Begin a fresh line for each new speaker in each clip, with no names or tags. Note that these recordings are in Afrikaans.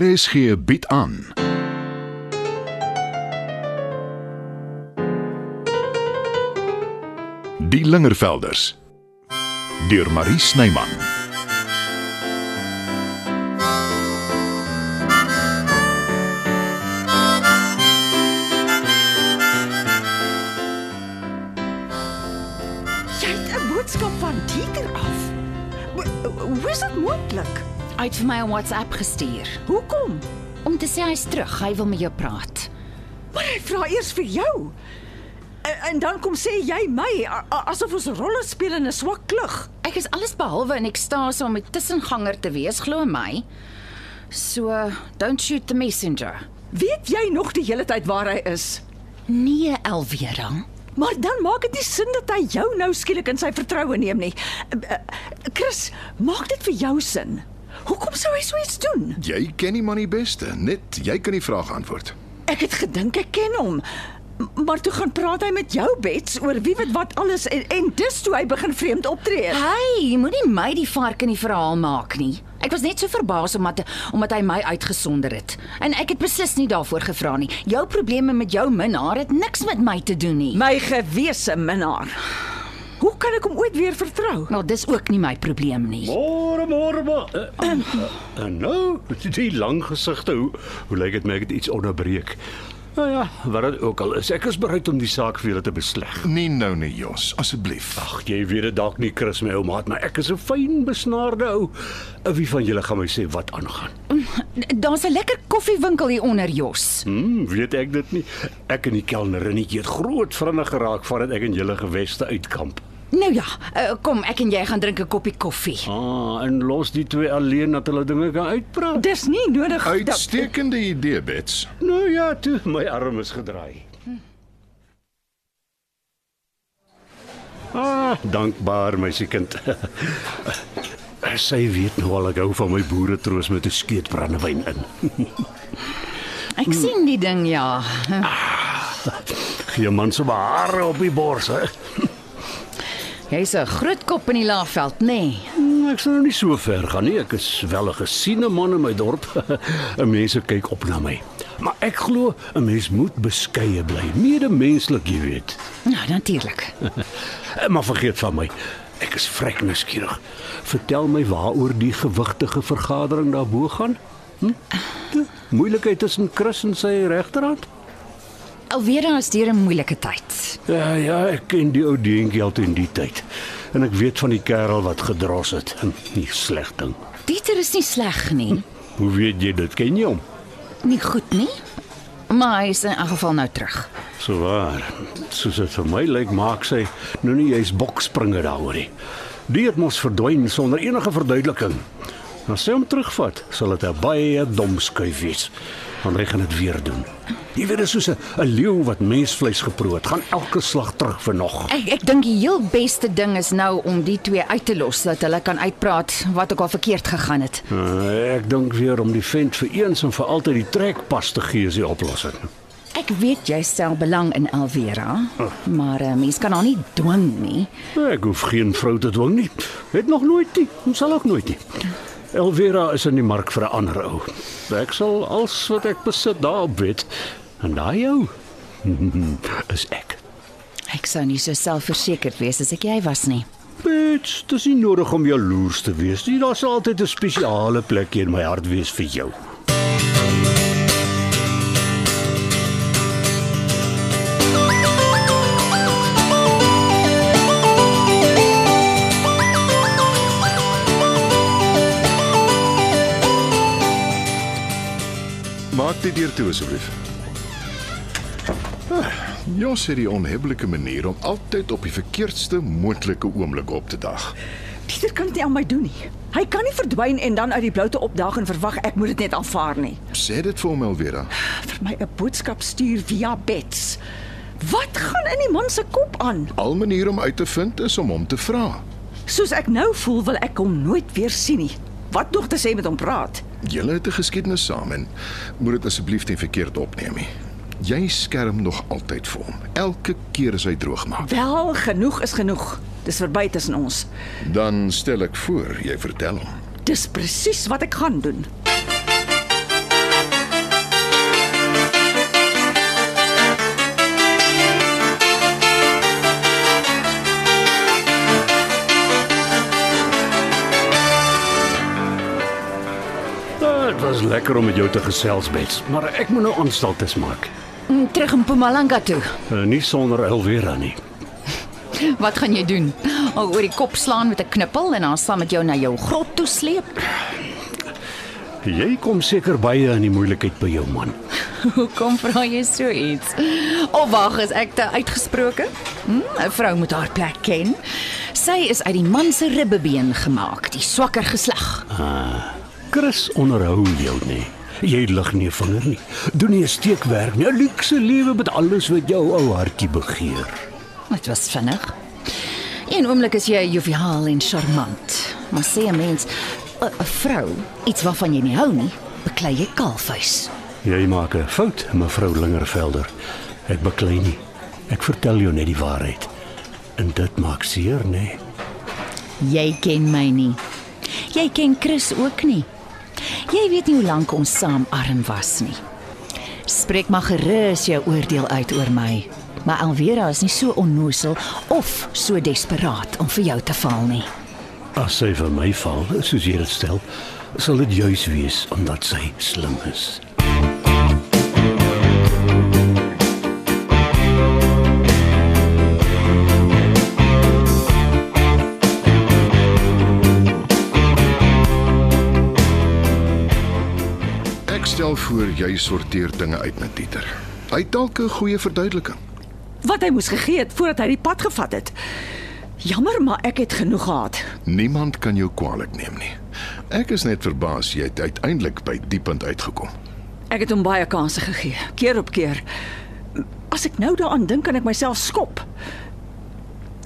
RSG bied aan. Die Lingervelders deur Marie Snyman.
Jy het 'n boodskap van Dieter af. Ho- Hoe is dit moontlik?
Hy het vir my 'n WhatsApp gestuur
Hoekom?
om te sê hy's terug. Hy wil met jou praat.
Maar hy vra eers vir jou. En, en dan kom sê jy my a- a- asof ons rolle speel in 'n swak klug.
Ek is alles behalwe in ekstase om 'n tussenganger te wees, glo my. So, don't shoot the messenger.
Weet jy nog die hele tyd waar hy is?
Nee, Elvera.
Maar dan maak dit nie sin dat hy jou nou skielik in sy vertroue neem nie. Eh, eh, Chris, maak dit vir jou sin. Hoekom sou hy so iets doen?
Jy ken die man die beste, net jy kan die vraag antwoord.
Ek het gedink ek ken hom. M- Maar toe gaan praat hy met jou bets oor wie weet wat alles en, en dis toe hy begin vreemd optree.
Hey, moenie my die vark in die verhaal maak nie. Ek was net so verbaas omdat omdat hy my uitgesonder het. En ek het beslis nie daarvoor gevra nie. Jou probleme met jou minnaar het niks met my te doen nie.
My gewese minnaar. Hoe kan ek hom ooit weer vertrou?
Maar nou, dis ook nie my probleem nie.
Môre, môre, môre. En nou, die lang gesigte, hoe, hoe lyk dit my ek het iets onderbreek? Nou ja, wat dit ook al is, ek is bereid om die saak vir julle te besleg.
Nie nou nie, Jos, asseblief.
Ag, jy weet dit dalk nie Chris my ou maat, maar ek is 'n fyn besnaarde ou. Eh, Wie van julle gaan my sê wat aangaan?
Daar's 'n lekker koffiewinkel hier onder Jos.
Hm, weet ek dit nie. Ek en die kelnerinnetjie het groot vriende geraak vandat ek en julle geweste uitkamp.
Nou ja, uh, kom ek en jy gaan drink 'n koppie koffie.
Ah, en los die twee alleen dat hulle dinge kan uitpraat.
Dis nie nodig
Uitstekende idee, Bets.
Nou ja, toe my arm is gedraai. Ah, dankbaar meisiekind. Sy weet nou al ek hou van my boere troos met 'n skeet brandewyn in.
Ek sien die ding ja.
Gee man se hare op die bors. hè.
Jy's 'n groot kop in die laafveld, nê? Nee.
Mm, Ek sal nou nie so ver gaan nie. Ek is wel 'n gesiene man in my dorp. 'n Mense kyk op na my. Maar ek glo 'n mens moet beskeie bly, medemenslik, jy weet.
Nou natuurlik.
Eh, Maar vergeet van my. Ek is vrek nuuskierig. Vertel my waaroor die gewigtige vergadering daarbo gaan? Hm? Moeilikheid tussen Chris en sy regterhand?
Alweer is dit 'n moeilike tyd.
Ja ja, ek ken die ou deentjie al teen die tyd. En ek weet van die kerel wat gedros het. Hm, Nie sleg ding.
Dieter is nie sleg nie.
Hoe weet jy dit? Ken jy hom?
Nie goed nie. Maar hy is in elk geval nou terug.
So waar. Soos dit vir my lyk, maak sy nou nie jy's boksspringe daaroor nie. Die het mos verdwyn sonder enige verduideliking. As sy hom terugvat, sal dit 'n baie dom skuif wees. Want hy gaan dit weer doen. Jy weet, dit is soos 'n 'n leeu wat mensvleis geproe het, gaan elke slag terug vir nog.
Ek ek dink die heel beste ding is nou om die twee uit te los dat hulle kan uitpraat wat ook al verkeerd gegaan het.
Uh, ek dink weer om die vent vir eens en vir altyd die trekpas te gee is die oplossing.
Ek weet jy stel belang in Alvera, maar 'n mens kan haar nie dwing nie.
Ek hoef geen vrou te dwing nie. Het nog nooit nie. Ons sal ook nooit nie. Elvira is in die mark vir 'n ander ou. Ek sal alles wat ek besit daarop weet. En daai ou is ek.
Ek sou nie so selfversekerd wees as ek jy was nie.
Bets, dis nie nodig om jaloers te wees nie. Daar sal altyd 'n spesiale plekjie in my hart wees vir jou.
Maak dit deur toe asseblief. Ah, Jos het die onhebbelike manier om altyd op die verkeerdste moontlike oomblik op te dag.
Pieter kan dit nie aan my doen nie. Hy kan nie verdwyn en dan uit die bloute opdaag en verwag ek moet dit net aanvaar nie.
Sê dit vir hom Elvira.
Vir my 'n boodskap stuur via bets. Wat gaan in die man se kop aan?
Al manier om uit te vind is om hom te vra.
Soos ek nou voel, wil ek hom nooit weer sien nie. Wat nog te sê met hom praat?
Julle het 'n geskiedenis saam en moet dit asseblief nie verkeerd opneem nie. Jy skerm nog altyd vir hom. Elke keer as hy droog maak.
Wel, genoeg is genoeg. Dis verby tussen ons.
Dan stel ek voor jy vertel hom.
Dis presies wat ek gaan doen.
Dit Nou, was lekker om met jou te gesels, Bets, maar ek moet nou aanstaltes maak.
Mm, Terug in Mpumalanga toe.
Uh, nie sonder Elvira nie.
Wat gaan jy doen? Al oor die kop slaan met 'n knippel en dan saam met jou na jou grot toe sleep?
Jy kom seker baie in die moeilikheid by jou man.
Hoekom vra jy so iets? Of wag, is ek te uitgesproke? Hm, 'n vrou moet haar plek ken. Sy is uit die man se ribbebeen gemaak, die swakker geslag.
Chris onderhou jou nie. Jy lig nie 'n vinger nie. Doen nie 'n steekwerk nie. 'n Luukse lewe met alles wat jou ou hartjie begeer.
Dit was vinnig. Een oomblik is jy joviaal en charmant, maar sê 'n mens 'n 'n vrou iets waarvan jy nie hou nie, beklei jy kaalvuis.
Jy maak 'n fout, mevrou Lingervelder. Ek beklei nie. Ek vertel jou net die waarheid. En dit maak seer, nee.
Jy ken my nie. Jy ken Chris ook nie. Jy weet nie hoe lank ons saam arm was nie. Spreek maar gerus jou oordeel uit oor my. Maar Alvera is nie so onnosel of so desperaat om vir jou te val nie.
As sy vir my val, soos jy dit stel, sal dit juis wees omdat sy slim is.
Ek stel voor jy sorteer dinge uit met Dieter. Hy het dalk 'n goeie verduideliking.
Wat hy moes gegee het voordat hy die pad gevat het. Jammer, maar ek het genoeg gehad.
Niemand kan jou kwaadlik neem nie. Ek is net verbaas jy het uiteindelik by die punt uitgekom.
Ek het hom baie kansse gegee, keer op keer. As ek nou daaraan dink, kan ek myself skop.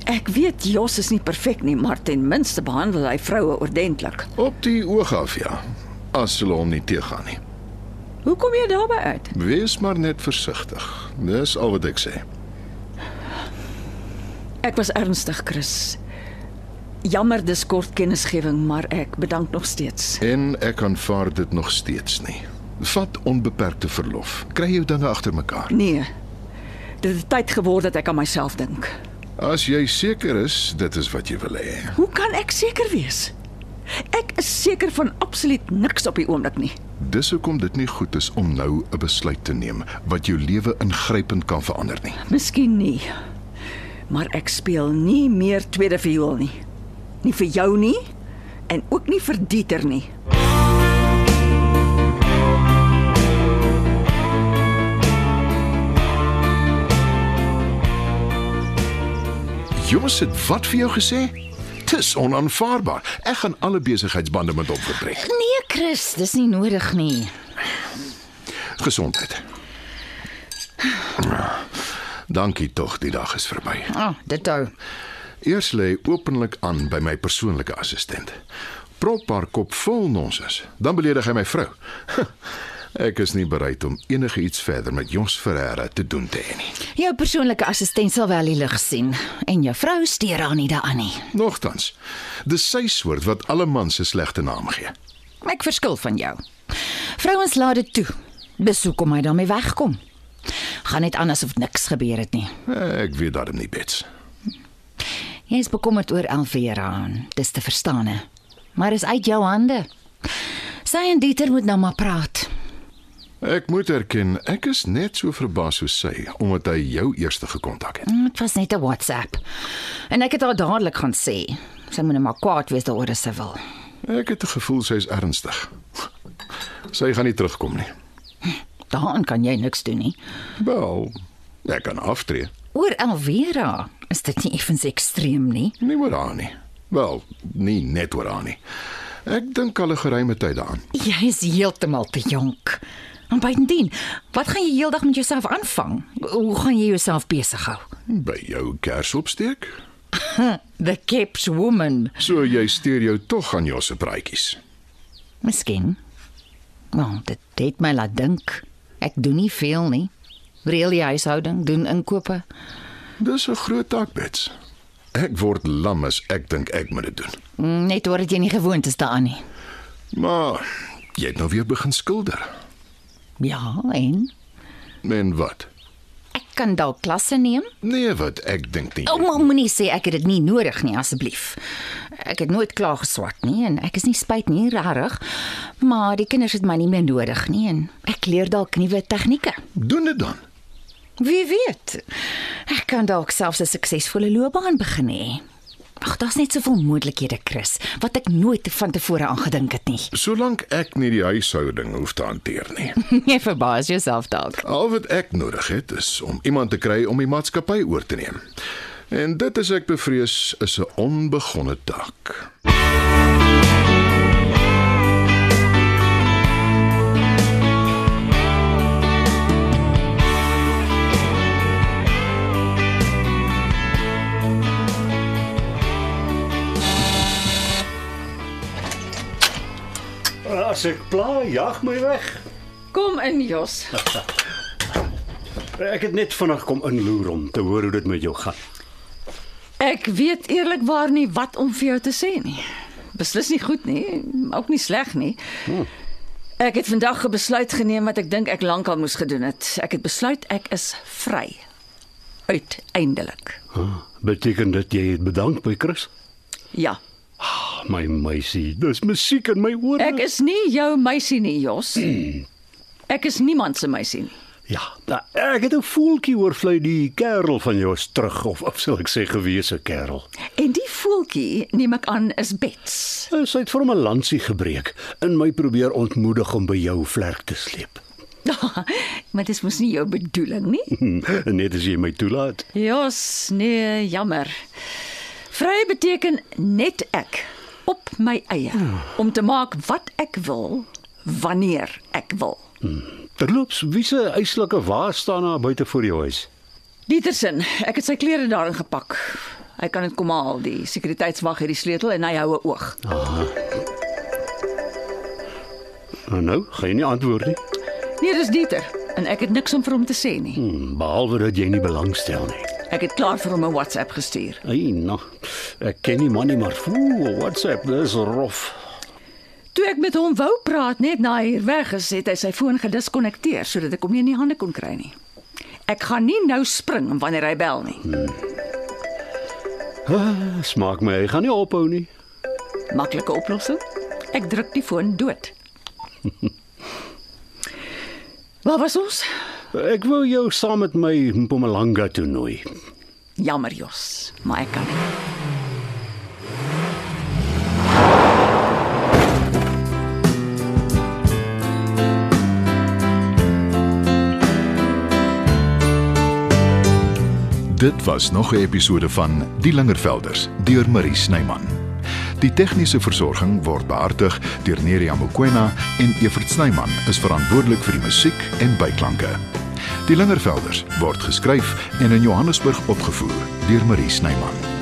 Ek weet Jos is nie perfek nie, maar ten minste behandel hy vroue ordentlik.
Op die oog af ja. As hulle hom nie teegaan nie.
Hoe kom jy daarby uit?
Wees maar net versigtig. Dis al wat ek sê.
Ek was ernstig, Chris. Jammer dis kort kennisgewing, maar ek bedank nog steeds.
En ek aanvaar dit nog steeds nie. Vat onbeperkte verlof. Kry jou dinge agter mekaar.
Nee. Dit het tyd geword dat ek aan myself dink.
As jy seker is dit is wat jy wil hê.
Hoe kan ek seker wees? Ek is seker van absoluut niks op die oomblik nie.
Dis hoekom dit nie goed is om nou 'n besluit te neem wat jou lewe ingrypend kan verander nie.
Miskien nie. Maar ek speel nie meer tweede viool nie. Nie vir jou nie en ook nie vir Dieter nie.
Jos het wat vir jou gesê? Dis onaanvaarbaar. Ek gaan alle besigheidsbande met hom vertrek.
Nee, Chris, dis nie nodig nie.
Gesondheid. Ja. Dankie tog, die dag is verby.
Ah, oh, dit ou.
Eers lê hy openlik aan by my persoonlike assistent. Prop haar kop vol nonsens. Dan beledig hy my vrou. Ek is nie bereid om enigiets verder met Jos Ferreira te doen te hê nie.
Jou persoonlike assistent sal wel die lig sien en jou vrou steur haar nie daaraan nie.
Nogtans, dis sy soort wat alle mans 'n slegte naam gee.
Ek verskil van jou. Vrouens laat dit toe. Dis hoekom hy daarmee wegkom. Gaan net aan asof niks gebeur het nie.
Ek weet daarom nie bets.
Jy is bekommerd oor Alvera. Dis te verstaan. hè. Maar is uit jou hande. Sy en Dieter moet nou maar praat.
Ek moet erken, ek is net so verbaas soos sy omdat hy jou eerste gekontak het.
Hm, Dit was net 'n WhatsApp. En ek het haar dadelik gaan sê. Sy moet nou maar kwaad wees daaroor as sy wil.
Ek het 'n gevoel sy is ernstig. Sy gaan nie terugkom nie.
Daaraan kan jy niks doen nie.
Wel, ek kan aftree.
Oor Alvera is dit nie effens ekstreem nie.
Nie oor haar nie. Wel, nie net oor haar nie. Ek dink al 'n geruime tyd daaraan.
Jy is heeltemal te jonk. En buitendien, wat gaan jy heeldag met jouself aanvang? Hoe gaan jy jouself besig hou?
By jou kers opsteek?
The Cape's woman.
So jy steur jou tog aan Jos se praatjies.
Miskien. Nou, dit het my laat dink. Ek doen nie veel nie. Reël die huishouding, doen inkope.
Dis 'n groot taak, Bets. Ek word lam as ek dink ek moet dit doen.
Mm, Net hoor dit jy nie gewoond is daaraan nie.
Maar jy het nou weer begin skilder.
Ja, en
En wat?
ek kan dalk klasse neem?
Nee, wat ek dink nie.
Ouma moenie sê ek het dit nie nodig nie asseblief. Ek het nooit klaar geswat nie en ek is nie spyt nie regtig, maar die kinders het my nie meer nodig nie en ek leer dalk nuwe tegnieke.
Doen dit dan.
Wie weet? Ek kan dalk selfs 'n suksesvolle loopbaan begin hê. Ag, daar's net soveel moontlikhede, Chris, wat ek nooit van tevore aangedink het nie.
Solank ek nie die huishouding hoef te hanteer nie.
Jy verbaas jouself dalk.
Al wat ek nodig het is om iemand te kry om die maatskappy oor te neem. En dit is ek bevrees is 'n onbegonne taak.
As ek pla, jag my weg.
Kom in, Jos.
Ek het net vinnig kom inloer om te hoor hoe dit met jou gaan.
Ek weet eerlikwaar nie wat om vir jou te sê nie. Beslis nie goed nie, ook nie sleg nie. Ek het vandag 'n besluit geneem wat ek dink ek lankal moes gedoen het. Ek het besluit ek is vry. Uiteindelik.
Huh, Ah, beteken dit jy het bedank by Chris?
Ja.
My meisie, dis musiek in my ore.
Ek is nie jou meisie nie, Jos. Ek is niemand se meisie nie.
Ja, nou, ek het 'n voeltjie oor vlei die kerel van jou is terug of of sal ek sê gewese kerel.
En die voeltjie, neem ek aan, is Bets.
Sy het vir hom 'n lansie gebreek en my probeer ontmoedig om by jou vlerk te sleep.
maar dis mos nie jou bedoeling nie.
Hm, Net as jy my toelaat.
Jos, nee, jammer. Vry beteken net ek op my eie om te maak wat ek wil wanneer ek wil.
Terloops, wie se eislike waar staan daar buite voor jou huis?
Dietersen, ek het sy klere daarin gepak. Hy kan dit kom haal. Die sekuriteitswag het die sleutel en hy hou 'n oog.
Nou nou, gaan jy nie antwoord nie.
Nee, dis Dieter en ek het niks om vir hom te sê nie.
Hmm, behalwe dat jy nie belangstel nie.
Ek het klaar vir hom 'n WhatsApp gestuur.
Ai, nou. Ek ken nie manie maar fool, WhatsApp, dis rof.
Toe ek met hom wou praat net na hy hier weg is, het hy sy foon gediskonnekteer sodat ek hom nie in die hande kon kry nie. Ek gaan nie nou spring wanneer hy bel nie.
Smaak my, hy gaan nie ophou nie.
Maklike oplossing? Ek druk die foon dood. Waar was ons?
Ek wou jou saam met my Mpumalanga toe nooi.
Jammer Jos, maar ek kan nie.
Dit was nog 'n episode van Die Lingervelders deur Marie Snyman. Die tegniese versorging word behartig deur Neriya Mukwena en Evert Snyman is verantwoordelik vir die musiek en byklanke. Die Lingervelders word geskryf en in Johannesburg opgevoer deur Marie Snyman.